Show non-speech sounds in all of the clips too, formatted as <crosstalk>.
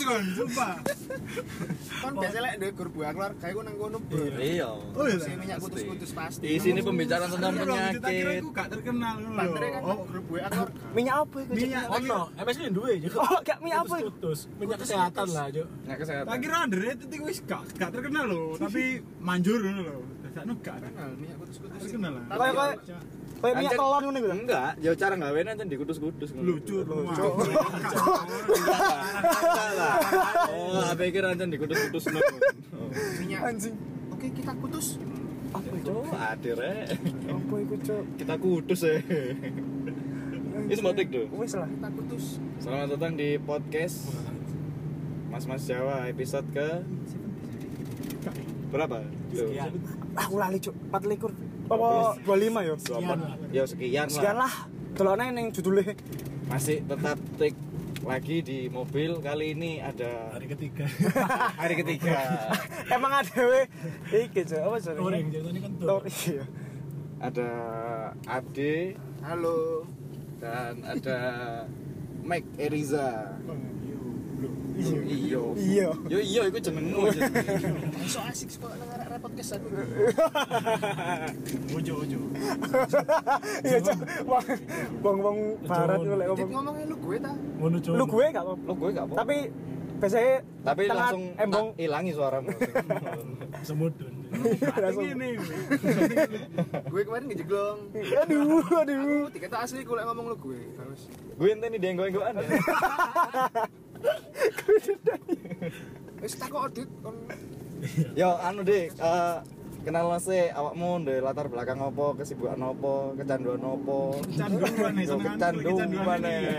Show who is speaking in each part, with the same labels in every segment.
Speaker 1: sumpah. Kan biasa lek duwe grup WA keluar, kayak gue nang kono ber.
Speaker 2: Iya.
Speaker 3: Oh iya.
Speaker 1: Si minyak
Speaker 2: Pasti.
Speaker 1: kutus-kutus pasti. Iya.
Speaker 2: Di sini pembicaraan tentang
Speaker 3: Aku belum cerita, kira
Speaker 2: penyakit.
Speaker 3: aku gak terkenal ngono lho.
Speaker 1: Baterai kan
Speaker 3: Oh,
Speaker 1: grup WA keluar.
Speaker 4: Minyak apa itu?
Speaker 3: Minyak.
Speaker 2: Oh,
Speaker 5: Ono, MS ini duwe juga.
Speaker 4: Oh, gak minyak apa?
Speaker 5: Putus, minyak kesehatan lah, Cuk.
Speaker 2: Nggak kesehatan.
Speaker 3: tak kira underrated itu wis gak gak terkenal lho, tapi manjur ngono lho. Dadakno gak
Speaker 1: Kenal Nah, minyak kutus-kutus.
Speaker 3: terkenal lah.
Speaker 1: Tapi
Speaker 4: Kayak-
Speaker 1: ya,
Speaker 3: kayak
Speaker 4: Kayak minyak
Speaker 2: Anjir.
Speaker 4: telon ngono iku lho.
Speaker 2: Enggak, ya cara nggawean aja di kudus-kudus.
Speaker 3: lucu lucu.
Speaker 2: Salah. Oh, tak pikir aja di kudus-kudus. Oh,
Speaker 1: minyak.
Speaker 4: Anjing.
Speaker 1: Oke, kita kutus.
Speaker 4: Apa itu?
Speaker 2: Cuk, adir eh.
Speaker 4: Apa itu, Cuk?
Speaker 2: Kita kudus eh. Ini semotik tuh.
Speaker 4: Wis lah.
Speaker 1: Kita kutus.
Speaker 2: Selamat datang di podcast Mas Mas Jawa episode ke berapa? Tuh.
Speaker 5: Sekian.
Speaker 4: Aku lali, Ah, Cuk. 24. Apa 25 ya?
Speaker 2: Delapan. Ya sekian,
Speaker 4: Sekian
Speaker 2: lah.
Speaker 4: lah. Delokne ning judule. <laughs>
Speaker 2: Masih tetap take lagi di mobil kali ini ada
Speaker 5: Hari ketiga.
Speaker 2: hari ketiga
Speaker 4: Emang adewe iki, Cuk. Apa
Speaker 5: Touring,
Speaker 4: jenenge?
Speaker 5: jadinya kan
Speaker 4: Tor.
Speaker 5: touring.
Speaker 4: Iya.
Speaker 2: ada Ade
Speaker 1: Halo.
Speaker 2: dan ada Mike Eriza iyo
Speaker 4: Iya. <laughs>
Speaker 2: yo iyo itu jenengmu jenengmu.
Speaker 1: Iso asik kok nang arek repot kesan.
Speaker 2: Iya.
Speaker 5: Ojo, ojo.
Speaker 4: Iya, Cuk. Wong- Wong-wong barat iku lek
Speaker 1: Dit
Speaker 4: ngomong.
Speaker 1: ngomongnya lu gue ta.
Speaker 5: Ngono, Cuk.
Speaker 4: Lu gue gak apa
Speaker 2: lo gue gak apa
Speaker 4: Tapi biasanya
Speaker 2: tapi
Speaker 4: tengah
Speaker 2: langsung
Speaker 4: embong
Speaker 2: tak ilangi suaramu
Speaker 5: semudun.
Speaker 4: langsung.
Speaker 3: Ini
Speaker 1: Gue kemarin ngejeglong.
Speaker 4: Aduh, aduh.
Speaker 1: Aku dikata asli gue lek ngomong lu gue. Terus
Speaker 2: <laughs> gue ente nih denggo-denggoan ya
Speaker 1: wis takok Dit kon
Speaker 2: yo anu deh eh, kenal sih awakmu dari latar belakang apa kesibukan apa kecanduan apa
Speaker 3: kecanduan nih
Speaker 2: Yo,
Speaker 3: senengan
Speaker 2: kecanduan nih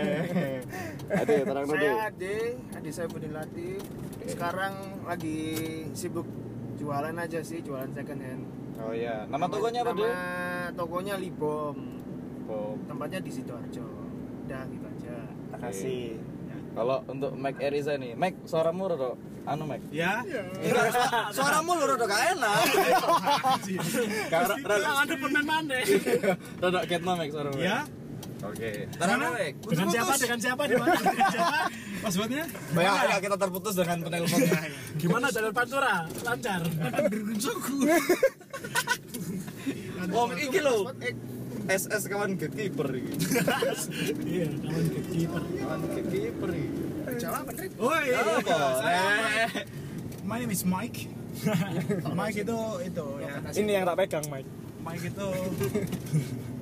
Speaker 2: <laughs> ade terang dulu
Speaker 1: Saya Ade, Ade saya Budi Latif. Sekarang lagi sibuk jualan aja sih, jualan second hand.
Speaker 2: oh iya nama tokonya apa deh
Speaker 1: Nama tokonya Libom.
Speaker 2: oh
Speaker 1: Tempatnya di Sidoarjo. Udah gitu aja.
Speaker 4: Tak kasih.
Speaker 2: Kalau untuk Mike Eriza nih, Mike suaramu rada anu Mike.
Speaker 3: Ya.
Speaker 2: <laughs> suaramu lu rada gak enak. Karena rada
Speaker 5: Ada permen mande.
Speaker 2: <laughs>
Speaker 4: Iya.
Speaker 2: rada ketna Mike suaramu.
Speaker 3: Ya.
Speaker 2: Oke.
Speaker 3: Mana? Dengan siapa? Dengan siapa? Di mana? Dengan siapa? Passwordnya?
Speaker 2: Ya, ya kita terputus dengan penelpon.
Speaker 5: Gimana jalur Pantura? Lancar.
Speaker 2: <laughs> Wong iki lho.
Speaker 1: Password, eh,
Speaker 2: SS kawan gatekeeper iki.
Speaker 5: Iya, kawan kiper.
Speaker 2: Kawan gatekeeper iki.
Speaker 1: Eh, Jawa bener.
Speaker 5: Oh,
Speaker 3: Oi.
Speaker 5: iya.
Speaker 2: Apa?
Speaker 3: Saya
Speaker 2: Eh.
Speaker 3: My name is
Speaker 5: <laughs>
Speaker 3: Mike. Mike itu itu ya.
Speaker 4: Ini yang tak pegang, Mike.
Speaker 3: Mike itu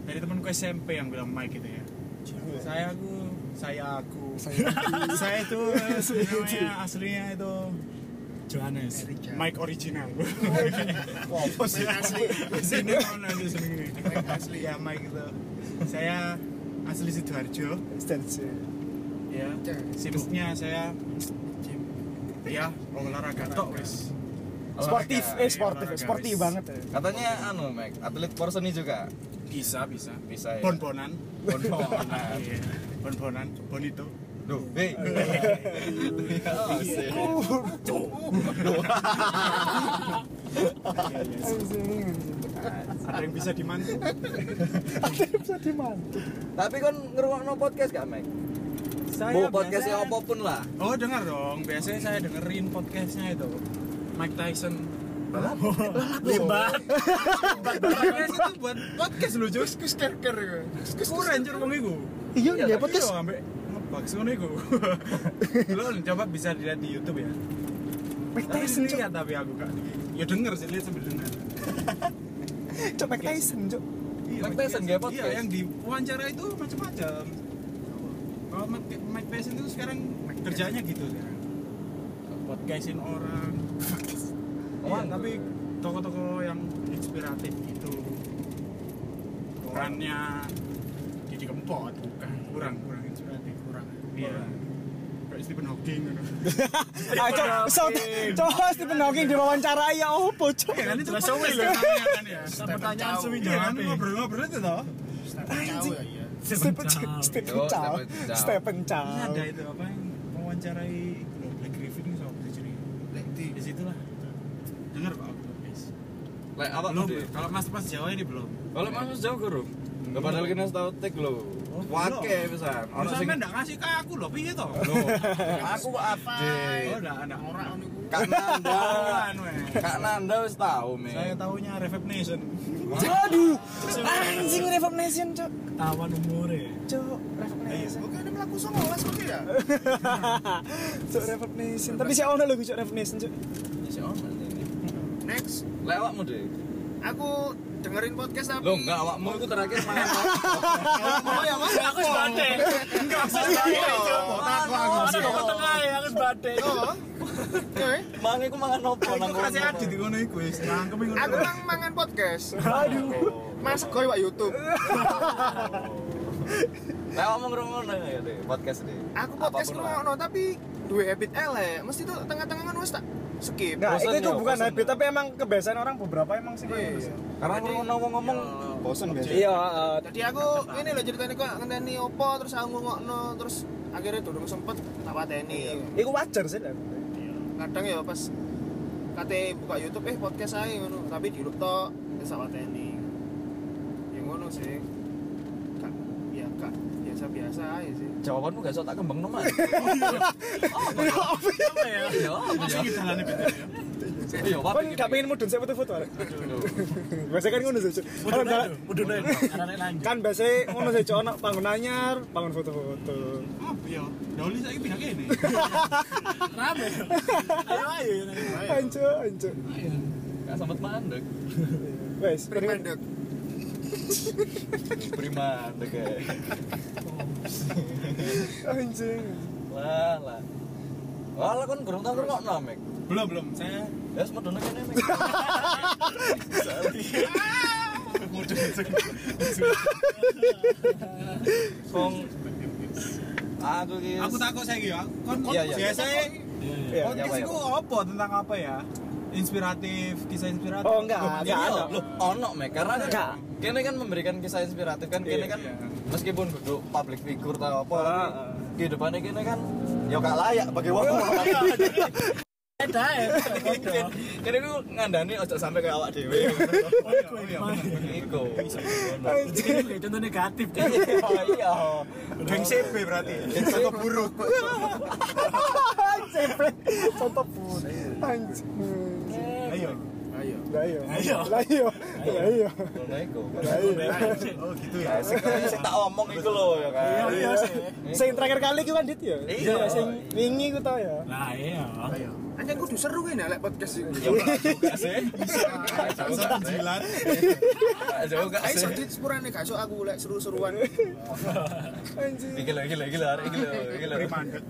Speaker 3: dari temanku SMP yang bilang Mike gitu ya. Saya aku, saya aku. saya
Speaker 5: <laughs>
Speaker 3: itu namanya aslinya itu Johannes. Mike original. <laughs> Apa sih asli? Sini mana aja sini. Mike asli ya Mike itu. Saya asli Sidoarjo.
Speaker 4: Stensi.
Speaker 3: Ya. Sibuknya saya ya olahraga tok wis.
Speaker 4: Sportif, eh sportif,
Speaker 3: Iya, Olahraga,
Speaker 4: sportif
Speaker 3: guys.
Speaker 4: banget ya.
Speaker 2: Katanya anu Mike, atlet porseni juga
Speaker 3: Bisa bisa.
Speaker 2: bisa ya.
Speaker 3: Bon-bonan.
Speaker 2: Bonbon.
Speaker 3: Iya. Bon-bonan, bonito.
Speaker 2: Duh, hei.
Speaker 3: Eh.
Speaker 2: Ya, sih.
Speaker 3: Iya, Ada yang bisa dimantu?
Speaker 4: Bisa dimantu.
Speaker 2: Tapi kon ngerungokno podcast gak, Mike? Mau podcastnya apapun lah.
Speaker 3: Oh dengar dong, biasanya saya dengerin podcastnya itu Mike Tyson Oh. Limbat Limbat itu buat podcast lu Jus Kus kerker
Speaker 1: ya?
Speaker 3: Kurang anjir wong iku
Speaker 4: Iya,
Speaker 2: Iya,
Speaker 4: ya
Speaker 2: tapi
Speaker 4: podcast.
Speaker 3: Iya, ambek ngebaks ngono
Speaker 4: <laughs>
Speaker 3: iku Lo coba bisa dilihat di Youtube ya
Speaker 4: Mike
Speaker 3: Tapi
Speaker 4: Tyson, Cuk.
Speaker 3: lihat tapi aku gak Ya denger sih, lihat sambil denger
Speaker 4: Cuk, Mike Tyson, Cuk.
Speaker 3: Iya,
Speaker 2: Mike Tyson nggak podcast?
Speaker 3: Iya, yang di wawancara itu macam-macam Kalau Mike- Mike Tyson itu sekarang kerjanya gitu sekarang Podcastin <laughs> orang Iya,
Speaker 2: Wah,
Speaker 3: tapi toko-toko yang inspiratif gitu Orangnya jadi kempot bukan kurang kurang inspiratif kurang iya kayak Stephen Hawking <laughs> gitu.
Speaker 4: Ah, Cuk, so- coba <laughs> Stephen Hawking diwawancarai ya opo, Cuk.
Speaker 3: Iya kan itu
Speaker 5: Terus
Speaker 3: podcast
Speaker 5: Owen
Speaker 3: kan, iya kan ya
Speaker 5: Pertanyaan
Speaker 1: Jauh.
Speaker 5: suwi
Speaker 3: Iya kan
Speaker 5: jawab.
Speaker 3: ngobrol-ngobrol itu toh
Speaker 1: Jawa ya.
Speaker 4: Stephen
Speaker 5: Chow.
Speaker 4: Stephen
Speaker 2: Yo,
Speaker 4: Chow.
Speaker 2: Stephen Chow.
Speaker 4: Stephen Chow.
Speaker 3: Ini ada itu apa yang mewawancarai Loh, Black Griffin itu sama Black Griffin.
Speaker 1: Lek, di-
Speaker 3: Di situ lah. Dengar Pak. Yes.
Speaker 2: Lek apa
Speaker 3: Belum,
Speaker 2: tuh?
Speaker 3: kalau Mas Mas Jawa ini belum.
Speaker 2: Kalau Mas Mas jauh guru. Loh, padahal kena tahu tek lho.
Speaker 3: Oh,
Speaker 2: Wake pisan.
Speaker 3: Ono
Speaker 2: Ono sing
Speaker 3: enggak ngasih ke aku loh, piye to?
Speaker 2: Loh, aku kok update.
Speaker 3: Oh, enggak, enggak.
Speaker 1: orang ini ku.
Speaker 2: Kak Nanda.
Speaker 3: Tahuan, weh.
Speaker 2: Kak Nanda wis tahu, Mi.
Speaker 3: Saya tahunya Reverb Nation.
Speaker 4: Aduh, anjing Reverb Nation, cok.
Speaker 5: Tawan umure.
Speaker 4: Cok, Reverb
Speaker 3: Iya,
Speaker 4: Nation.
Speaker 1: Oke, ini melaku songolas kok ya.
Speaker 4: Cok Reverb Nation. Tapi saya ono lho gue, cok Reverb Nation, cok.
Speaker 2: Masih ono ini.
Speaker 1: Next,
Speaker 2: Lek awakmu, Dik.
Speaker 1: aku dengerin podcast tapi
Speaker 2: Lho, enggak awakmu iku terakhir <laughs> main.
Speaker 1: Oh, ya, Mas.
Speaker 5: Aku wis badhe. Enggak usah
Speaker 1: Iya, iya.
Speaker 5: Ada kok tengah ya, aku wis badhe.
Speaker 1: Oh. Oke.
Speaker 2: Mang iku mangan opo nang
Speaker 3: Aku kasih adit di kono iku wis nangkem iku.
Speaker 1: Aku nang mangan podcast.
Speaker 4: Aduh.
Speaker 1: Mas goy wak YouTube.
Speaker 2: Lek awakmu ngrungokno ya, Dik, podcast Dik.
Speaker 1: Aku podcast
Speaker 2: Apapun
Speaker 1: ngono tapi duwe habit elek. Mesti tuh tengah-tengah kan wis tak skip.
Speaker 4: Enggak,
Speaker 2: Bosen
Speaker 4: Nah, itu tuh
Speaker 2: yo,
Speaker 4: bukan
Speaker 2: bosen
Speaker 4: habit,
Speaker 2: yo.
Speaker 4: tapi emang kebiasaan orang beberapa emang sih kayak gitu.
Speaker 1: Iya.
Speaker 2: Karena
Speaker 1: Jadi-
Speaker 2: ngrungokno wong ngomong bosen biasa.
Speaker 4: Iya, heeh.
Speaker 1: Jadi aku ini loh ceritanya kok ngenteni opo terus aku ngokno terus akhirnya durung sempet tak pateni.
Speaker 4: Iku wajar sih lah.
Speaker 1: Kadang ya pas kate buka YouTube eh podcast ae ngono, tapi di YouTube tok wis tak pateni. Ya ngono sih. Kak, ya kak biasa-biasa aja sih.
Speaker 2: Jawabanmu gak iso tak kembangno, Mas.
Speaker 3: apa ya?
Speaker 2: Iya, apa
Speaker 3: Masih
Speaker 2: ya?
Speaker 3: kita lani bener ya.
Speaker 2: Iya, apa
Speaker 4: Kan
Speaker 2: iki?
Speaker 4: gak pengen mudun saya foto-foto. Arek. <laughs>
Speaker 2: Aduh.
Speaker 4: Biasa kan ngono sih. Cuk.
Speaker 5: Udah
Speaker 4: Orang dalam-
Speaker 5: udah udah. Karena nek lanjut.
Speaker 4: Kan biasa ngono sih cok ono bangun anyar, bangun foto-foto.
Speaker 3: Oh, iya. Doli saiki pindah kene.
Speaker 5: Rame. Ayo ayo.
Speaker 4: Anco, anco.
Speaker 5: ayo.
Speaker 2: Gak sempet mandek.
Speaker 4: Wes,
Speaker 1: Preman dek.
Speaker 2: Beri mandek ya.
Speaker 4: anjing.
Speaker 2: Lah, lah. Lah, lah kan gurung tau ngrungokno, Mek.
Speaker 3: Belum, belum. Saya
Speaker 2: Ya wis medhone kene, Mek.
Speaker 3: Waduh,
Speaker 2: Wong aku ki.
Speaker 3: aku takut saya gitu. Kon kon
Speaker 2: Iya, iya.
Speaker 3: biasa ya.
Speaker 4: Iya.
Speaker 3: Podcast
Speaker 2: Iya, iya.
Speaker 3: itu apa tentang apa ya? Inspiratif, kisah inspiratif.
Speaker 4: Oh enggak, enggak
Speaker 2: Iya,
Speaker 4: ada.
Speaker 2: loh, ono Mek. Karena
Speaker 4: Enggak.
Speaker 2: kan kene kan memberikan kisah inspiratif kan kene
Speaker 4: Iya.
Speaker 2: kan meskipun duduk public figure tau apa
Speaker 4: Ah,
Speaker 2: tapi
Speaker 4: ah.
Speaker 2: kehidupannya kene kan ya gak layak bagi wong.
Speaker 5: Ada ya.
Speaker 2: Kene ku ngandani ojo sampe kayak awak dhewe.
Speaker 3: Oh, iya,
Speaker 2: Iku.
Speaker 5: Ini juga contoh negatif deh.
Speaker 2: Iya, iya.
Speaker 3: Geng CP berarti. Contoh buruk.
Speaker 4: Cepet. Contoh pun. Anjing.
Speaker 3: Ayo.
Speaker 1: Ayo.
Speaker 4: Lah iya.
Speaker 5: Ayo.
Speaker 4: Lah iya. Lah iya.
Speaker 2: Nah, iku.
Speaker 4: Lah iya.
Speaker 3: Oh, gitu ya.
Speaker 2: Nah, sing sing tak omong iku lho ya kan.
Speaker 5: Iya iya. sih.
Speaker 4: Sing terakhir kali ku kan dit ya.
Speaker 2: Iya.
Speaker 4: sing wingi ku tau ya.
Speaker 5: Lah iya.
Speaker 1: Ayo. Anjing kudu seru ini lek podcast
Speaker 2: Ya
Speaker 1: iki.
Speaker 2: ora juga sih. iya.
Speaker 3: Sangat jilat.
Speaker 2: Jauh gak
Speaker 1: Ayo
Speaker 2: sih.
Speaker 1: sakit sepurane gak iso aku lek seru-seruan.
Speaker 2: <laughs>
Speaker 4: Anjing.
Speaker 2: Iki lho, iki lho, iki lho, iki lho, iki lho.
Speaker 3: Beri mandek.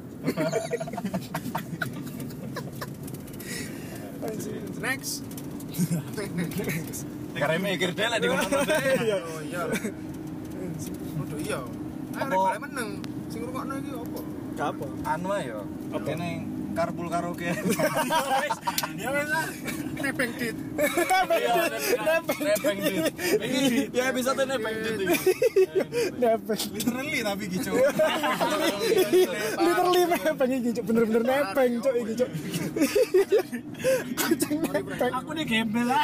Speaker 1: Next.
Speaker 2: Karena mikir deh lah di mana
Speaker 1: Iya. Oh iya. Kudu iya. Ayo
Speaker 2: Apa?
Speaker 1: rek meneng. Sing ngrungokno iki opo?
Speaker 4: Gak apa.
Speaker 2: Anu ae yo. Kene karpul karaoke.
Speaker 5: Ya wes lah.
Speaker 1: Nebeng dit.
Speaker 4: Nepeng.
Speaker 2: Nepeng dit. Iki ya bisa tuh nepeng dit. iki.
Speaker 4: Nepeng.
Speaker 3: Literally tapi gitu.
Speaker 4: Literally nepeng iki cuk. Bener-bener nepeng cuk iki cuk. Kucing nepeng.
Speaker 5: Aku nih gembel lah.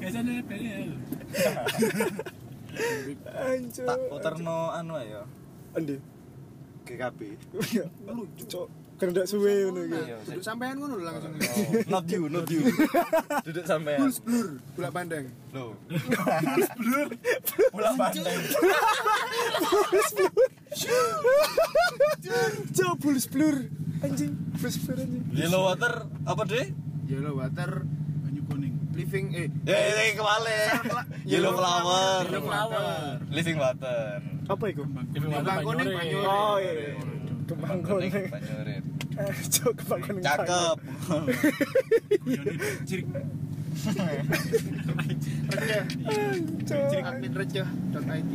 Speaker 5: Biasanya PL.
Speaker 4: Anjing.
Speaker 2: Tak puterno anu ae yo.
Speaker 4: Endi?
Speaker 2: GKB.
Speaker 4: Lucu cuk. Kerendak suwe ngono iki.
Speaker 2: Iya,
Speaker 1: Duduk sampean ngono lho langsung.
Speaker 2: Not you, not you. Duduk sampean.
Speaker 1: Blur, bola pandang.
Speaker 2: Loh. Pulang pandai.
Speaker 4: Cuk bulus blur. Anjing. Bulus blur anjing.
Speaker 2: Yellow water apa deh?
Speaker 1: Yellow water
Speaker 3: Banyu kuning.
Speaker 1: living eh
Speaker 2: Ya ini kebalik. Yellow flower.
Speaker 1: Yellow flower.
Speaker 2: Living water.
Speaker 4: Apa iku?
Speaker 1: Kembang kuning banyu.
Speaker 4: Oh iya. Kembang
Speaker 2: Kuning
Speaker 4: kuning.
Speaker 2: Banyurit.
Speaker 4: <laughs> Cuk kembang kuning.
Speaker 2: Cakep.
Speaker 3: Iya, Cirik.
Speaker 1: Receh.
Speaker 4: Cuk.
Speaker 1: Admin receh.id.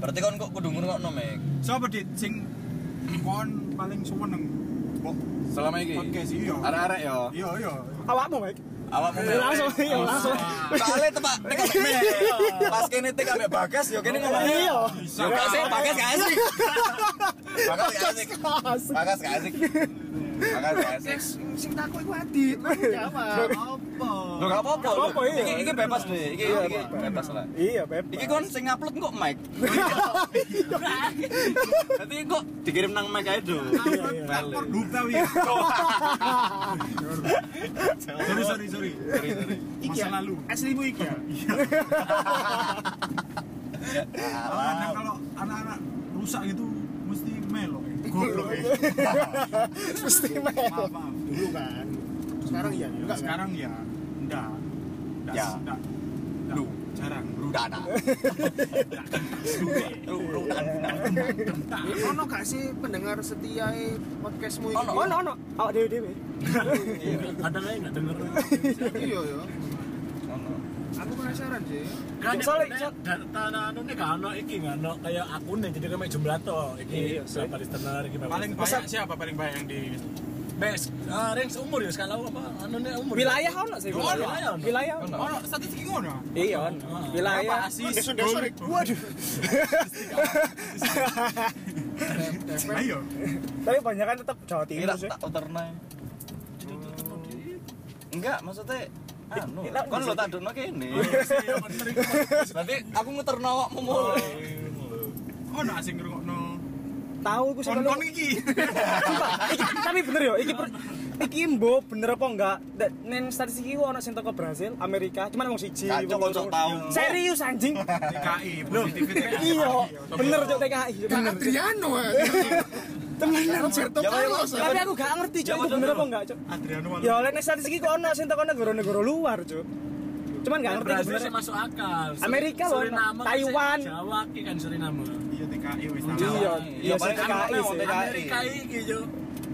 Speaker 2: Berarti kon kok kudu ngrungokno Mek.
Speaker 3: Sopo dit sing kon paling seneng. Kok
Speaker 2: Selama iki.
Speaker 3: podcast iya.
Speaker 2: Arek-arek yo.
Speaker 3: Iya, iya.
Speaker 4: Awakmu, Mike.
Speaker 2: Awak mau
Speaker 4: Ya, Langsung, iya, langsung.
Speaker 2: Soale tepak nek mek. Pas kene tek ambek Bagas yo kene ngomong.
Speaker 4: Iya.
Speaker 2: Yo gak asik, Bagas gak asik. Bagas gak asik.
Speaker 4: Asik.
Speaker 2: Bagas gak asik. kan bahasa.
Speaker 1: Sing sing takut iku Adit. Jawab. Apa?
Speaker 2: Lo gak apa-apa.
Speaker 4: Nggak apa-apa, iya.
Speaker 2: Iki iki bebas deh. Iki
Speaker 4: Iya,
Speaker 2: iki bebas lah.
Speaker 4: Iya, Beb.
Speaker 2: Iki kon sing upload kok <laughs> mic. Nanti kok dikirim nang mic ae do. Balik.
Speaker 3: Dukta ya. sorry sorry sorry.
Speaker 1: Iki
Speaker 3: Masa
Speaker 1: ya,
Speaker 3: lalu. Iya.
Speaker 1: Aslimu iki ya.
Speaker 3: Karena kalau anak-anak rusak gitu mesti melo. Goblok ya.
Speaker 4: Mesti mel.
Speaker 3: Maaf maaf.
Speaker 1: Dulu kan. Sekarang iya, enggak kan?
Speaker 3: Sekarang ya enggak. Enggak,
Speaker 2: Ya.
Speaker 3: enggak. Enggak.
Speaker 2: Lu.
Speaker 3: jarang.
Speaker 2: Rudana. Rudana.
Speaker 1: Ono gak sih pendengar setia podcastmu iki?
Speaker 2: Ono.
Speaker 4: Ono ono, awak dewe-dewe.
Speaker 5: Ada lagi nggak denger?
Speaker 1: Iya ya. Aku penasaran sih.
Speaker 5: Kan
Speaker 4: Soalnya-
Speaker 5: soalnya data anu nih kan ono iki nggak ono kayak akunnya jadi kayak jumlah toh. Iki berapa listener? Iki berapa
Speaker 3: Paling banyak siapa paling banyak yang di
Speaker 5: best. Ah, range umur ya skala apa? Anu nih umur.
Speaker 4: Wilayah ono sih,
Speaker 5: Ono, wilayah
Speaker 4: wilayah.
Speaker 5: ono.
Speaker 4: Wilayah. ono.
Speaker 3: Oh, statistik ngono.
Speaker 4: Iya, ono. Wilayah.
Speaker 3: Asis.
Speaker 1: Sudah sore.
Speaker 4: Eh, Waduh.
Speaker 3: Ayo.
Speaker 4: Tapi banyak kan tetap Jawa
Speaker 2: Kira
Speaker 4: Timur sih.
Speaker 2: tak uterna. Enggak, maksudnya anu,
Speaker 4: Kira-
Speaker 2: kan lo tak dono kene. Nanti aku ngeterno awakmu mulu.
Speaker 3: Ono asing ngrungokno.
Speaker 4: Tahu iku sih
Speaker 3: Kon-kon
Speaker 4: kalau-
Speaker 3: iki.
Speaker 4: Sumpah, iki tapi bener yo, iki per- iki mbo bener apa enggak? Da- Nen statistik iki ono sing teko Brasil, Amerika, cuman wong siji.
Speaker 2: Kacau,
Speaker 4: wong
Speaker 2: kocok
Speaker 4: loro.
Speaker 2: tahu.
Speaker 4: Serius anjing.
Speaker 3: TKI, positif TKI.
Speaker 4: Iya, bener cok TKI. Bener.
Speaker 1: Adriano. ya.
Speaker 4: Temenan Cok.
Speaker 1: Roberto
Speaker 2: Ya, Pak,
Speaker 1: Carlos.
Speaker 4: Tapi aku gak ngerti cok,
Speaker 2: Jawa
Speaker 4: itu bener
Speaker 2: Timur.
Speaker 4: apa enggak cok?
Speaker 3: Adriano Walu.
Speaker 4: Ya oleh nek statistik iki ono sing teko negara-negara luar cok. Cuman gak ngerti
Speaker 5: Kan Brazil
Speaker 4: sebenarnya.
Speaker 5: sih masuk akal. Sur-
Speaker 4: Amerika loh,
Speaker 5: Suriname, kan
Speaker 4: Taiwan.
Speaker 5: Jawa iki kan Suriname.
Speaker 3: Iya TKI wis tahu.
Speaker 4: Iya, iya
Speaker 2: Iya,
Speaker 4: sing
Speaker 2: paling kan
Speaker 4: TKI
Speaker 2: ono
Speaker 4: sih.
Speaker 2: TKI.
Speaker 5: Amerika iki yo.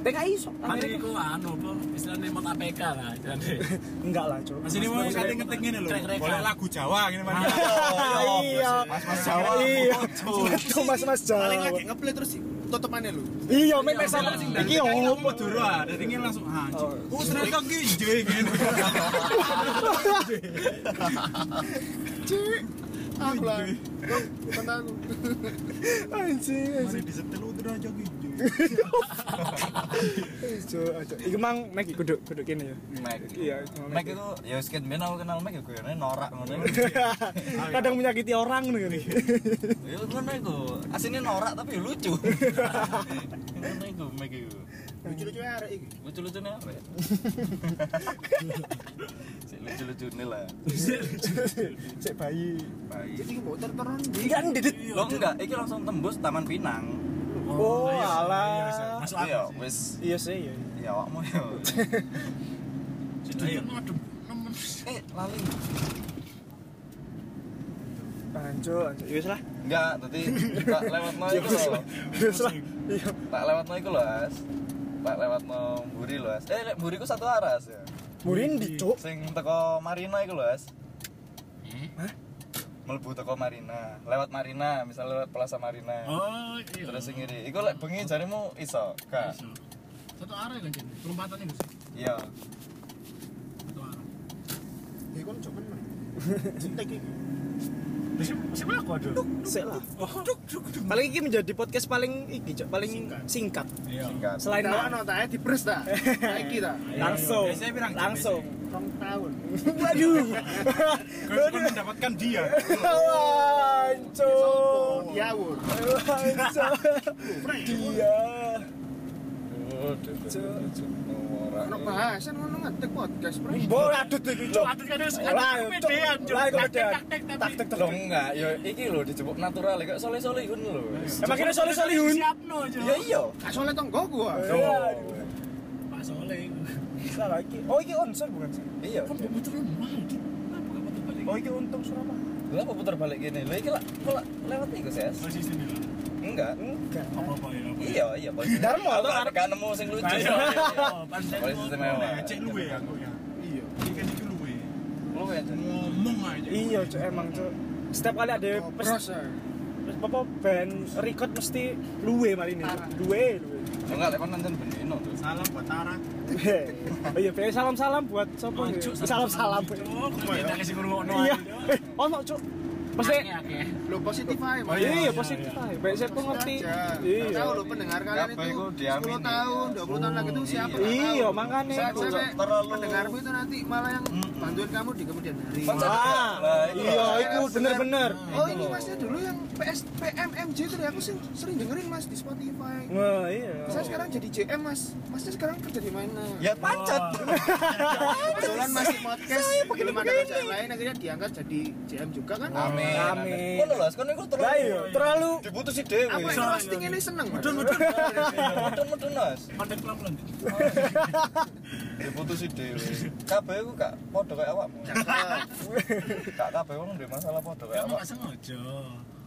Speaker 4: TKI sok
Speaker 5: Kan
Speaker 4: Amerika.
Speaker 5: iku anu apa istilahnya mau APK lah istilahnya.
Speaker 4: Enggak lah cok.
Speaker 3: Masih ini mau kate ngetik ngene lho.
Speaker 5: Rek-rekan.
Speaker 3: Boleh lagu Jawa ngene Pak.
Speaker 4: <laughs> Iya.
Speaker 2: Mas-mas Jawa.
Speaker 4: Iya.
Speaker 2: Cuk.
Speaker 4: Itu mas-mas Jawa.
Speaker 1: Paling lagi ngeplay terus tutupannya lu.
Speaker 4: Iya, men nek sama
Speaker 5: Sing
Speaker 4: iki opo?
Speaker 3: Madura, dari ngene langsung hancur. Oh, ternyata ki jeng
Speaker 4: <laughs>
Speaker 3: ngene.
Speaker 1: Cik. Aku lah. Kata aku.
Speaker 4: Anjing.
Speaker 3: Mari disetel "Oh, udah aja ki.
Speaker 4: Cuk, cuk. Iku mang mek kudu kudu kene ya.
Speaker 2: Mac.
Speaker 4: Iya,
Speaker 2: Mac itu ya skin ben aku kenal Mac ya gue norak ngono.
Speaker 4: Kadang menyakiti orang ngono iki.
Speaker 2: Ya ngono iku. Asine norak tapi ya lucu. Ngono iku Mac iku.
Speaker 1: Lucu-lucunya arek iki.
Speaker 2: Lucu-lucune apa <laughs> ya? Sik lucu-lucune lah.
Speaker 4: Cek bayi.
Speaker 2: Baik.
Speaker 1: Jadi mau terteron di.
Speaker 4: Iya, Oh, Enggak ndidit.
Speaker 5: Iya,
Speaker 2: Lo enggak, iki langsung tembus Taman Pinang.
Speaker 4: Oh,
Speaker 5: iya, iya, iya.
Speaker 4: alah.
Speaker 5: Masuk akal
Speaker 2: Iya,
Speaker 5: sih.
Speaker 2: wis
Speaker 4: Iya sih, iya.
Speaker 2: ya awakmu ya.
Speaker 5: <laughs>
Speaker 4: Iya.
Speaker 5: Ayo.
Speaker 2: Eh, lali.
Speaker 4: Anjur, anjur. Iya lah.
Speaker 2: Enggak, tadi tak
Speaker 5: <laughs>
Speaker 2: lewatno iku lho.
Speaker 4: Iya lah. Iya.
Speaker 2: Tak lewatno iku lho, As. Tak lewatno Buri lho, As. Eh, lek Buri ku satu aras ya.
Speaker 4: Murin dicuk.
Speaker 2: Sing teko Marina iku lho, As. Melebu teko Marina, lewat Marina, misal lewat Plaza Marina.
Speaker 5: Oh, iya.
Speaker 2: Terus sing ngiri, iku lek bengi jarimu iso, ka.
Speaker 5: Satu arah kan jadi perumpatan ini.
Speaker 2: Iya.
Speaker 5: Satu arah.
Speaker 1: Ya kon cuman men. Cintek iki.
Speaker 5: Siapa aku ada?
Speaker 4: Sik lah. Paling iki menjadi podcast paling iki, Cok. Paling singkat.
Speaker 5: Iya.
Speaker 2: Singkat.
Speaker 4: Selain
Speaker 1: Nah, ono ta eh dipres ta. Nah, Iki ta.
Speaker 4: langsung.
Speaker 3: Biasanya pirang jam
Speaker 4: Langsung.
Speaker 1: Rong tahun.
Speaker 4: Waduh.
Speaker 3: gitu, Kau kau mendapatkan dia.
Speaker 4: Oh. Hancur.
Speaker 1: Diawur.
Speaker 4: Dia.
Speaker 1: Ono bahasan ngono ngetik podcast, Bro.
Speaker 4: Mbok adut iki, Cok.
Speaker 5: Adut kan harus
Speaker 4: Lah,
Speaker 5: ada
Speaker 4: Cok.
Speaker 5: kepedean, Cok.
Speaker 4: Lah, iku
Speaker 5: Taktik,
Speaker 4: pedean.
Speaker 5: taktik, tapi-
Speaker 4: Taktik
Speaker 2: Lo
Speaker 4: telung.
Speaker 2: enggak, ya iki lho dijebuk natural kok soleh-soleh ngono lho.
Speaker 5: Iya.
Speaker 4: Emang kira soli-soli hun.
Speaker 5: Siapno, Cok.
Speaker 2: Ya iya.
Speaker 1: Gak soleh tonggoku ah.
Speaker 4: Iya.
Speaker 5: Pak Soleh.
Speaker 4: Salah iki. Oh, iki onsor bukan sih?
Speaker 2: Iya.
Speaker 5: Kan mau muter rumah. Cok. Kenapa nggak puter balik?
Speaker 4: Oh, iki untung Surabaya.
Speaker 2: Lha apa putar balik gini? Lha iki lak kok lak lewat iku, Ses?
Speaker 5: Oh, sistem ini.
Speaker 2: Enggak.
Speaker 4: Enggak.
Speaker 5: Apa-apa ya. apa-apa.
Speaker 2: Iya, iya, Bos.
Speaker 4: Darmo,
Speaker 2: Atau ada kan nemu sing lucu.
Speaker 5: Ayo, ayo, ayo. Pantai
Speaker 2: Boleh
Speaker 5: gua.
Speaker 2: sistem mewah.
Speaker 3: Cek lu ya, aku ya.
Speaker 1: Iya.
Speaker 3: Ini kan itu lu ya.
Speaker 2: Lu ya. Jon.
Speaker 3: Ngomong aja.
Speaker 4: Iya, Cok, emang, Cok. Setiap kali ada pes-
Speaker 1: Bros. ah.
Speaker 4: pes- apa band record mesti luwe mari ini.
Speaker 1: Parah.
Speaker 4: Luwe, luwe.
Speaker 2: Ya Enggak, lek kon nonton Bendino tuh.
Speaker 3: Salam buat Tara.
Speaker 4: Heh. Oh iya, Be, salam-salam buat sapa?
Speaker 5: Oh, Cok,
Speaker 4: Salam-salam.
Speaker 5: Cok, kita kasih kurung
Speaker 4: Iya. Eh, ono, Cok. Pasti
Speaker 1: Lo positif aja, Mas.
Speaker 4: iya positif aja. Baik saya pun
Speaker 1: Positif
Speaker 4: ngerti.
Speaker 1: aja.
Speaker 4: Iya.
Speaker 1: Tahu lo pendengar kalian
Speaker 2: Apa itu
Speaker 1: itu
Speaker 2: diamini.
Speaker 1: 10 tahun, 20 tahun lagi itu siapa? nggak tahu.
Speaker 4: Iya, makanya
Speaker 1: Saat
Speaker 4: itu.
Speaker 1: sampai
Speaker 2: Terlalu-
Speaker 1: pendengarmu itu nanti malah yang bantuin kamu di kemudian hari.
Speaker 2: Lah,
Speaker 4: Wah,
Speaker 2: itu
Speaker 4: iya,
Speaker 2: lah.
Speaker 4: itu bener-bener.
Speaker 1: Oh ini masnya dulu yang PS PMMJ itu deh, aku sih sering dengerin mas di Spotify.
Speaker 4: Wah, iya.
Speaker 1: Saya sekarang jadi JM mas. Masnya sekarang kerja di mana?
Speaker 2: ya pancet
Speaker 1: Kebetulan masih podcast. Belum ada kerjaan lain akhirnya diangkat jadi JM juga kan?
Speaker 2: amin
Speaker 4: Amin.
Speaker 2: kok lolos kan itu
Speaker 4: Lah
Speaker 2: terlalu
Speaker 4: iya, terlalu
Speaker 2: diputusi Iya. dewe
Speaker 1: Apa yang roasting ini seneng? Mas?
Speaker 2: mudun-mudun Mas
Speaker 5: konten pelan-pelan
Speaker 2: diputusi dewe kabeh ku gak podo kayak
Speaker 4: <laughs>
Speaker 2: awakmu gak kabeh wong duwe masalah podo kayak
Speaker 5: kamu
Speaker 2: awak
Speaker 5: gak sengaja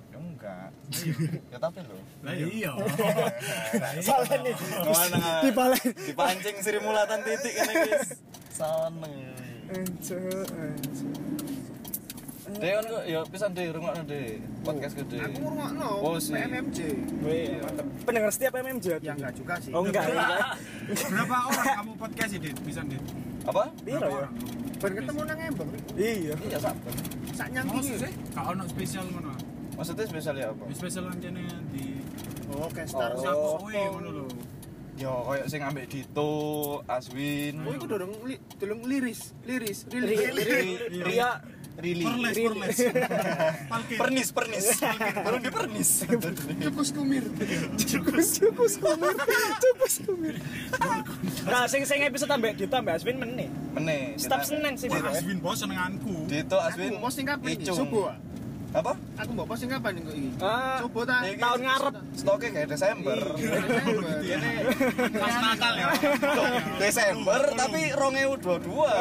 Speaker 2: ya
Speaker 5: <laughs>
Speaker 2: enggak ya tapi lho
Speaker 5: lah iya
Speaker 4: salah nih. Terus
Speaker 2: Mana?
Speaker 4: dibalik.
Speaker 2: dipancing Sri Mulatan titik kene guys salah
Speaker 4: Encuk, encuk.
Speaker 2: Deon kok ya pisan de rungokno de podcast gede.
Speaker 1: Aku ngurungokno
Speaker 2: Oh, sih.
Speaker 1: PMMJ.
Speaker 4: Wih, mantep. Pendengar setiap MMJ.
Speaker 1: Ya enggak juga sih.
Speaker 4: Oh enggak. enggak.
Speaker 3: Berapa orang kamu podcast ini? Bisa nih.
Speaker 2: Apa?
Speaker 4: Piro ya?
Speaker 1: Ben ketemu nang embang.
Speaker 4: Iya.
Speaker 2: Iya sabar.
Speaker 1: Sak
Speaker 4: Oh,
Speaker 1: nyangki.
Speaker 3: Maksud sih? Kak ono spesial ngono.
Speaker 2: Maksudnya spesial ya apa?
Speaker 3: Wis Spesial lancene di
Speaker 1: Oh, Kestar.
Speaker 2: Oh.
Speaker 3: Saku kowe ngono lho.
Speaker 2: Ya koyo sing ambek Dito, Aswin,
Speaker 1: Oh, itu dorong li, dorong liris, liris, liris,
Speaker 4: Ri-
Speaker 1: liris.
Speaker 4: Ri- Ria
Speaker 2: Rili.
Speaker 3: Perles, perles. Palke.
Speaker 2: Pernis, pernis. Belum di pernis.
Speaker 1: Cukus kumir.
Speaker 4: cukus cukus kumir. Cukus kumir. Nah, sing sing episode ambek Dita ambek Aswin meneh.
Speaker 2: Mene.
Speaker 4: Setiap
Speaker 2: kita-
Speaker 4: Senin sih.
Speaker 3: Wah, Aswin bos senenganku.
Speaker 2: Dito, Aswin.
Speaker 1: Aku mau posting kapan ini?
Speaker 2: Icung.
Speaker 1: Subuh. ah?
Speaker 2: Apa?
Speaker 1: Aku mau posting kapan ini? kok ini?
Speaker 4: Ah,
Speaker 1: Subuh ta.
Speaker 2: Ini-
Speaker 4: Tahun ngarep.
Speaker 2: Stoknya kayak Desember.
Speaker 1: <laughs> Ini
Speaker 3: Pas Natal ya.
Speaker 2: Desember tapi 2022.
Speaker 5: kamu dua-dua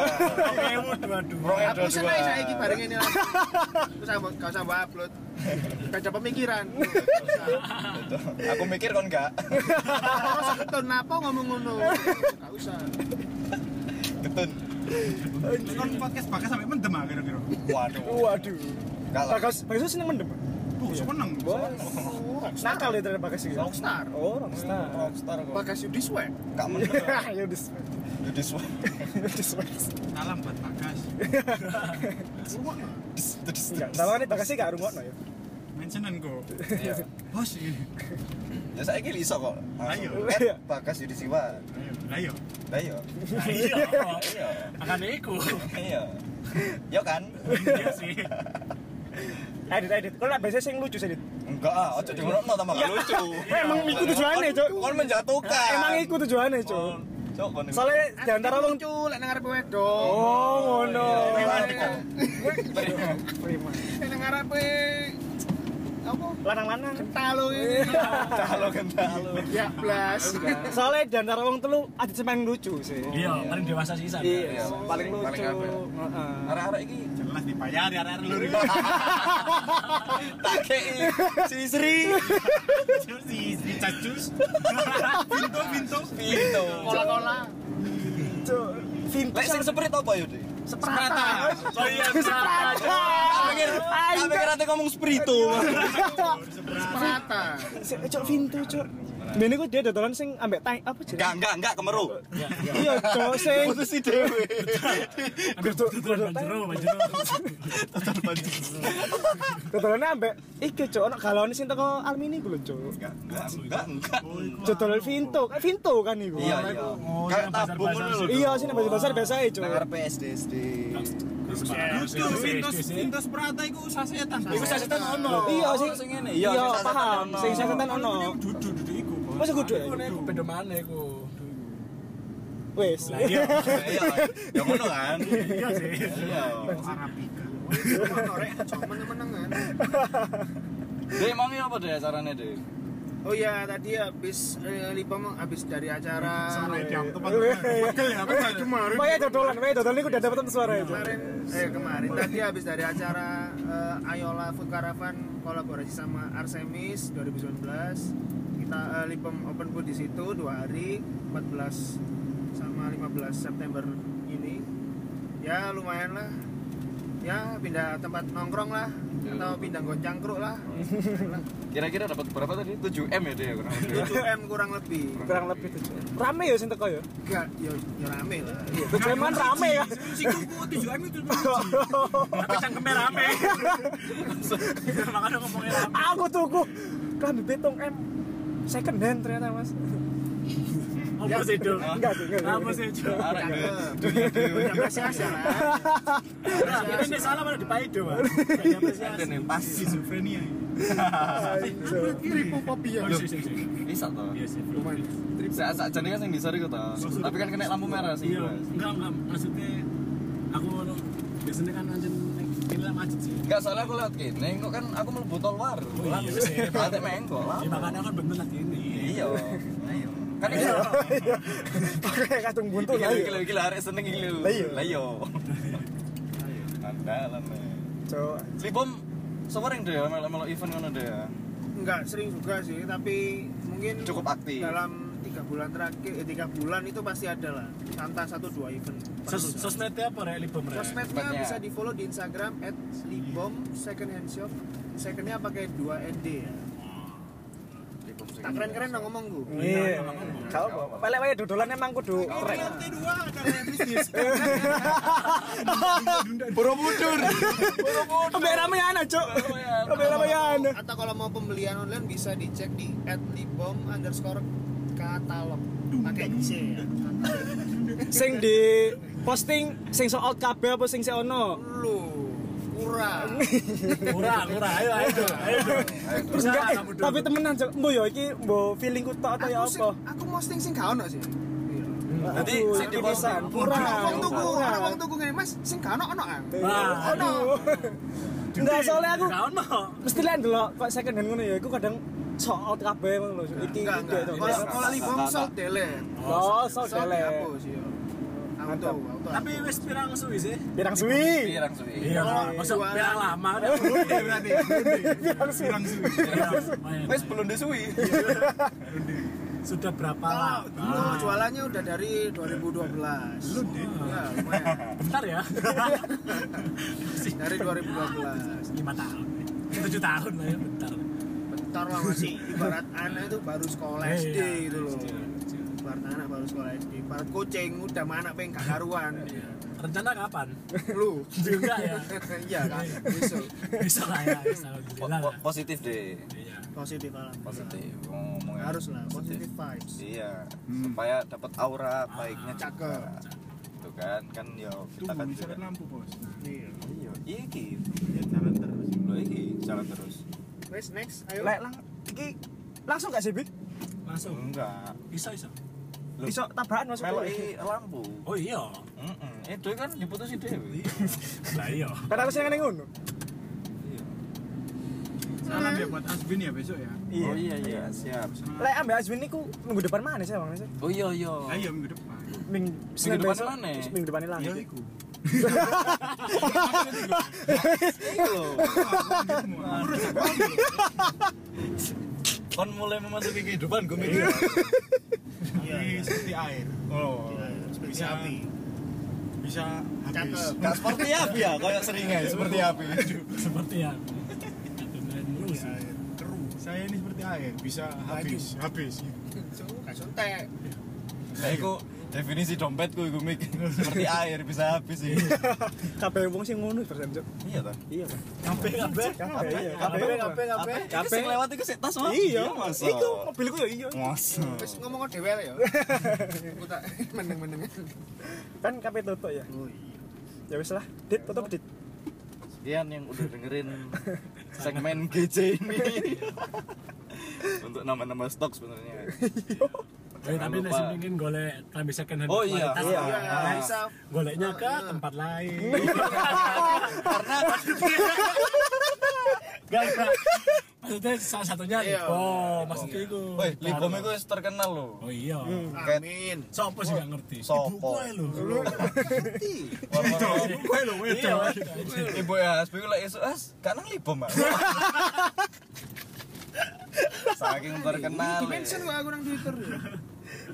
Speaker 2: 2022.
Speaker 1: aku seneng saya iki bareng ini lagi. Terus aku gak usah mbak upload. Gak ada pemikiran. Gak usah.
Speaker 2: Betul. Aku mikir kon gak
Speaker 1: Terus aku tuh napa ngomong ngono. Gak usah.
Speaker 2: getun.
Speaker 3: Terus Kon podcast pakai sampai mendem ah kira-kira.
Speaker 2: Waduh.
Speaker 4: Waduh.
Speaker 2: Kalah.
Speaker 4: Bagas, Bagas seneng mendem.
Speaker 3: Tuh, seneng.
Speaker 4: Nakal ya terhadap Bagas iki.
Speaker 1: Nah, Rockstar.
Speaker 4: Oh, rockstar.
Speaker 2: Rockstar kok.
Speaker 1: Bagas Yudi Swag.
Speaker 2: Gak menurut.
Speaker 4: <laughs> Ya dis.
Speaker 2: Jadi suara.
Speaker 4: Dis.
Speaker 3: Salam buat Bagas.
Speaker 2: Jadi
Speaker 4: Enggak, tawane Bagas iki gak rungokno ya.
Speaker 3: Mentionan kok.
Speaker 2: Iya.
Speaker 3: Bos ini.
Speaker 2: Ya saya kira iso kok.
Speaker 3: Ayo.
Speaker 2: Eh, Bagas Yudi Siwa.
Speaker 3: Lah yo.
Speaker 2: Lah iya.
Speaker 5: iya
Speaker 2: Iya.
Speaker 5: akan iku
Speaker 2: Iya. Ya kan?
Speaker 3: Iya sih.
Speaker 4: Edit edit. Kalau nak biasanya sing lucu sih. Dit.
Speaker 2: Enggak ah, ojo diurutno tambah gak lucu. Iya.
Speaker 4: Eh, <laughs> Emang iku tujuannya, Cuk.
Speaker 2: Kon menjatuhkan.
Speaker 4: Emang iku tujuannya,
Speaker 2: Oh.
Speaker 4: Cuk.
Speaker 2: Cok kon.
Speaker 4: Soalnya di antara wong
Speaker 1: lucu lek nang arep wedok.
Speaker 4: Oh,
Speaker 2: Iya,
Speaker 4: ngono. Iya.
Speaker 1: Lek nang arep apa?
Speaker 4: Lanang-lanang.
Speaker 1: Talo ini.
Speaker 2: calo kendalo.
Speaker 1: Ya blas.
Speaker 4: Soalnya di antara wong telu ada yang lucu sih.
Speaker 5: iya paling dewasa sih sana
Speaker 4: Iya,
Speaker 2: Paling-
Speaker 4: paling
Speaker 2: paling
Speaker 4: lucu.
Speaker 2: apa ya?
Speaker 4: Heeh.
Speaker 2: Arek-arek iki
Speaker 3: Jelas ya, dipayari arek-arek lho.
Speaker 2: tak kei si Sri
Speaker 3: Terus si si cacus. Pintu pintu.
Speaker 2: Pito.
Speaker 1: Kola-kola.
Speaker 4: Cuk,
Speaker 2: Lek
Speaker 4: Vintage
Speaker 2: sing seprit apa yo, Dik?
Speaker 1: Seprata.
Speaker 5: oh iya seprata
Speaker 2: Tak pikir tak pikir ate ngomong sprito.
Speaker 1: Seprata.
Speaker 4: Cuk, eh, Cuk Vinto, Cuk. Dene ku dia dodolan sing ambek tai apa jenenge?
Speaker 2: Enggak, enggak, enggak kemeru.
Speaker 4: Iya, Cuk, sing
Speaker 2: Putus si dhewe.
Speaker 5: gerduk gerduk banjero banjero
Speaker 4: dodolane ambek iki, Cuk, ono galone sing teko Almini ku lho, Cuk.
Speaker 2: Enggak, enggak, enggak, enggak.
Speaker 4: Dodolan Vinto, kan Vinto kan iku.
Speaker 2: Iya, iya. Kayak tabung ngono lho.
Speaker 4: Iya, sini pasar biasa ae, Cuk.
Speaker 2: Nang arep SD.
Speaker 3: Lucu pintu pintu Gitu, Prata iku sasetan.
Speaker 2: Iku sasetan ono.
Speaker 4: Iya, sing
Speaker 2: sing ngene.
Speaker 4: Iya,
Speaker 2: sasetan
Speaker 4: paham.
Speaker 2: ono.
Speaker 4: Sing sasetan
Speaker 3: Ono
Speaker 4: ono.
Speaker 3: duduk duduk iku. Bos.
Speaker 4: Masa kudu?
Speaker 5: iku beda mana iku
Speaker 4: Wes.
Speaker 5: iya
Speaker 2: Iya. Ya ngono kan. Iya sih. Iya.
Speaker 3: Arabica.
Speaker 1: Norek meneng-menengan.
Speaker 2: Dek, mau apa deh carane, Dek?
Speaker 1: Oh iya, tadi habis eh, Lipa meng- habis dari acara eh,
Speaker 3: Sampai jam tempat.
Speaker 4: Weh.
Speaker 3: Betul ya, betul.
Speaker 4: Pokoknya dodolan, pokoknya dodolan iku udah dapetan suara itu.
Speaker 1: kemarin eh kemarin tadi habis dari acara eh, Ayola Food Caravan kolaborasi sama Arsemis 2019. Kita eh, Lipem Open Food di situ dua hari 14 sama 15 September ini. Ya lumayan lah. Ya pindah tempat nongkrong lah. atau pindah gon cangkruk lah
Speaker 2: Kira-kira dapat berapa tadi? 7 m ya dia kurang lebih.
Speaker 1: 7 m kurang lebih
Speaker 4: kurang lebih tujuh rame ya sing teko ya
Speaker 1: enggak ya ya rame lah
Speaker 4: tujuh eman rame ya <laughs>
Speaker 5: Cikgu tujuh M itu Tapi cangkemnya rame Makanya ngomongnya rame
Speaker 4: aku tuku kami betong em second hand ternyata mas
Speaker 5: Apa sih Dul?
Speaker 4: enggak sih enggak
Speaker 5: Apa sih Dul?
Speaker 2: Iya.
Speaker 1: Cakep. Banyak apresiasi lah
Speaker 5: Ini ini salah malah dipaido Mas Banyak apresiasi.
Speaker 2: Dan yang pasti
Speaker 3: Schizophrenia.
Speaker 1: Tripopobia
Speaker 3: Oh, sih, sih, sih.
Speaker 2: bisa toh.
Speaker 5: Iya sih Bro.
Speaker 1: lumayan
Speaker 2: Saya sak jane kan sing disori kok toh.
Speaker 5: <laughs>
Speaker 2: Tapi kan kena lampu merah sih.
Speaker 5: Iya
Speaker 2: Mas.
Speaker 5: Enggak enggak Maksudnya Aku ngono. Biasanya kan anjir Ini macet sih
Speaker 2: Enggak soalnya aku lihat kene kok kan aku mlebu tol warung.
Speaker 5: Oh, iya sih.
Speaker 2: Ate mengko lah.
Speaker 5: Ya makanya kan bener lagi ini
Speaker 2: Iya. Ayo. Kan iya.
Speaker 4: pakai kacung buntu
Speaker 2: Gila
Speaker 4: lah
Speaker 2: gila gila arek seneng iki lho.
Speaker 4: Lah iya.
Speaker 2: Lah iya. eh. Andalan. Mas.
Speaker 4: cowok
Speaker 2: Libom sering deh melo-melo event ngono deh.
Speaker 1: enggak sering juga sih tapi mungkin
Speaker 2: Cukup aktif.
Speaker 1: dalam tiga bulan terakhir eh, tiga bulan itu pasti ada lah antara satu dua event
Speaker 5: Sos- Sosmednya apa Rek? Libom Rek?
Speaker 1: sosmednya
Speaker 2: Sosmednya.
Speaker 1: bisa di follow di instagram at libom second hand shop secondnya pakai 2 nd ya tak keren keren dong ngomong gue
Speaker 4: iya kau pelek wae dodolan emang kudu keren
Speaker 2: Borobudur.
Speaker 4: ambil ramean aja ambil ramean
Speaker 1: atau, atau kalau mau pembelian online bisa dicek di at libom underscore katalog pakai c ya katalog.
Speaker 4: sing di posting sing soal kabeh apa sing seono
Speaker 1: lu kurang
Speaker 4: <laughs>
Speaker 5: Murah, murah, ayo, ayo, Dul. ayo, Dul.
Speaker 4: terus enggak eh, tapi temenan cok mbo yo iki mbo feelingku tok atau
Speaker 1: aku
Speaker 4: ya
Speaker 1: sing,
Speaker 4: apa
Speaker 1: aku posting sing gak ono sih
Speaker 2: Jadi,
Speaker 4: Aduh,
Speaker 2: sing di
Speaker 4: iki pisan.
Speaker 2: posting.
Speaker 4: kurang
Speaker 1: Wong tuku, ana
Speaker 4: kurang
Speaker 1: wong tuku ngene, Mas, sing gak ono ono kan.
Speaker 5: Wah,
Speaker 1: Ono.
Speaker 4: enggak soalnya aku
Speaker 5: Gak ono.
Speaker 4: mesti lihat dulu kok second hand ngono ya aku kadang soal kabeh ngono lho iki
Speaker 1: Enggak,
Speaker 4: iki
Speaker 1: enggak.
Speaker 4: tok.
Speaker 1: Kalau kalau libom
Speaker 2: Enggak,
Speaker 1: salt delete.
Speaker 4: oh soal dele
Speaker 1: Aku sih. yo. Auto,
Speaker 4: Mantap.
Speaker 1: auto.
Speaker 5: Tapi wis pirang suwi sih?
Speaker 4: pirang suwi
Speaker 2: Pirang suwi.
Speaker 5: Iya, masa
Speaker 1: jualan.
Speaker 5: pirang lama udah mulai Iya, berarti.
Speaker 4: pirang suwi
Speaker 5: Pirang lama, ya.
Speaker 2: Wes belum disuwi.
Speaker 5: Iya. Sudah berapa
Speaker 1: Kalau dulu
Speaker 5: lama?
Speaker 1: jualannya udah dari 2012. Lu deh. Ya, lumayan.
Speaker 5: Bentar ya. Masih
Speaker 1: Dari 2012.
Speaker 5: 5 tahun. 7 tahun lah ya, bentar.
Speaker 1: Bentar lah masih ibarat anak itu baru sekolah
Speaker 5: Iya,
Speaker 1: SD gitu loh.
Speaker 5: kecil, kecil.
Speaker 1: Ibarat anak baru sekolah SD. Ibarat kucing udah mana anak pengen gak karuan.
Speaker 5: Iya. Rencana kapan?
Speaker 1: Lu.
Speaker 5: Juga ya.
Speaker 1: <laughs> Iya kan. Besok.
Speaker 5: Bisa lah ya, bisa lah.
Speaker 2: Po-
Speaker 5: Gila
Speaker 2: po-
Speaker 5: lah.
Speaker 2: Positif deh.
Speaker 5: Iya.
Speaker 1: Positif lah.
Speaker 2: Positif. Ngomongnya
Speaker 1: Harus lah, positive vibes.
Speaker 2: Iya, supaya dapat aura baiknya
Speaker 1: Cakep.
Speaker 2: juga. Tuh kan, kan yo kita kan
Speaker 3: Tunggu,
Speaker 2: juga.
Speaker 3: seret lampu bos.
Speaker 1: Iya.
Speaker 2: Iya, iki. Ya jalan terus. Loh iki, jalan terus.
Speaker 1: Wes next, ayo.
Speaker 4: lek lang iki langsung gak sih Bik?
Speaker 5: Langsung.
Speaker 2: Enggak.
Speaker 5: Bisa, bisa.
Speaker 2: Loh.
Speaker 4: iso tabrakan masuk
Speaker 2: Melok iki lampu.
Speaker 5: Oh iya.
Speaker 2: Heeh. Eh, dhewe kan diputusin dhewe.
Speaker 5: Lah iya. <laughs>
Speaker 4: kan aku sing ngene ngono
Speaker 3: Salam ya buat Asbin ya besok ya.
Speaker 2: Oh iya iya, siap.
Speaker 4: lek ambil Azwin niku minggu depan mana sih bang sih
Speaker 2: Oh iya iya.
Speaker 3: Ayo minggu depan.
Speaker 4: minggu Senin
Speaker 2: depan
Speaker 4: besok,
Speaker 2: mana?
Speaker 4: minggu depan ini
Speaker 3: Ya
Speaker 4: lagi
Speaker 3: iku.
Speaker 2: Kon mulai memasuki kehidupan gue mikir.
Speaker 3: Tapi seperti air. Oh.
Speaker 1: Seperti
Speaker 3: Bisa
Speaker 1: api.
Speaker 3: Bisa habis.
Speaker 1: Cakep.
Speaker 2: Gak seperti api ya, kayak seringai seperti api.
Speaker 5: Seperti ya. Beneran dulu ya. sih.
Speaker 3: Keruh. Saya ini seperti air, bisa habis, habis.
Speaker 1: Suka suntek.
Speaker 2: Nah, iku definisi dompetku iku mik seperti air bisa habis sih.
Speaker 4: kabeh wong sing ngono persen cok
Speaker 2: Iya ta?
Speaker 4: iya Bang.
Speaker 5: Kabeh kabeh.
Speaker 4: kabeh iya
Speaker 2: Kabeh,
Speaker 4: kabeh kabeh
Speaker 2: Kabeh sing lewat iku sik tas wae.
Speaker 4: iya
Speaker 2: masa. Oh.
Speaker 4: iku mobilku ya iya
Speaker 2: Masa.
Speaker 1: Wes ngomong dhewe ya. Aku tak meneng-meneng.
Speaker 4: kan kabeh tutup ya
Speaker 1: Oh iya.
Speaker 4: ya wis lah dit tutup dit
Speaker 2: Sekian yang udah dengerin segmen <laughs> GC ini. Untuk nama-nama stok sebenarnya. Iya.
Speaker 5: Eh,
Speaker 2: Jangan
Speaker 5: tapi
Speaker 2: lupa.
Speaker 5: nek sing pengin golek klambi second hand
Speaker 2: Oh iya,
Speaker 5: kualitas, Nah,
Speaker 2: iya.
Speaker 1: Iya, bisa.
Speaker 5: goleknya ke
Speaker 1: Iya.
Speaker 5: tempat
Speaker 2: <laughs>
Speaker 5: lain. <laughs> Karena gak gak. Maksudnya salah satunya
Speaker 1: Iya.
Speaker 5: oh maksudnya itu.
Speaker 2: iya. Woi, Libom iku wis terkenal loh.
Speaker 5: Oh iya.
Speaker 1: Amin.
Speaker 5: Sopo sih gak ngerti?
Speaker 2: Sopo?
Speaker 5: Ibu kowe lho.
Speaker 2: Warna-
Speaker 5: Ibu kowe lho wedok.
Speaker 2: Ibu ya, sebelum lek esuk as, gak nang Libom Mas. Saking terkenal.
Speaker 1: Mention
Speaker 2: ya.
Speaker 1: gua aku nang Twitter. ya.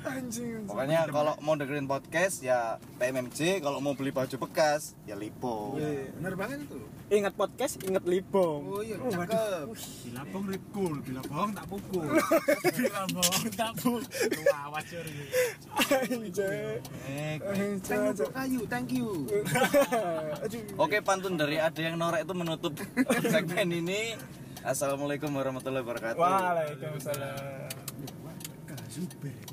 Speaker 4: Anjing.
Speaker 2: Pokoknya kalau mau dengerin podcast ya PMMJ, kalau mau beli baju bekas ya Lipo.
Speaker 1: Bener banget itu.
Speaker 4: Ingat podcast, ingat libong.
Speaker 1: Oh iya,
Speaker 4: <laughs>
Speaker 1: cakep.
Speaker 3: Dilapong ripkul, dilapong tak pukul.
Speaker 5: Bohong tak bu.
Speaker 3: Awas curi.
Speaker 4: Anjing.
Speaker 2: Eh,
Speaker 4: Iya.
Speaker 1: Thank you, bro. kayu, thank you.
Speaker 4: <laughs> Aduh.
Speaker 2: Oke pantun dari ada yang norek itu menutup <laughs> segmen ini. Assalamualaikum warahmatullahi wabarakatuh.
Speaker 4: Waalaikumsalam.
Speaker 3: Kazuber.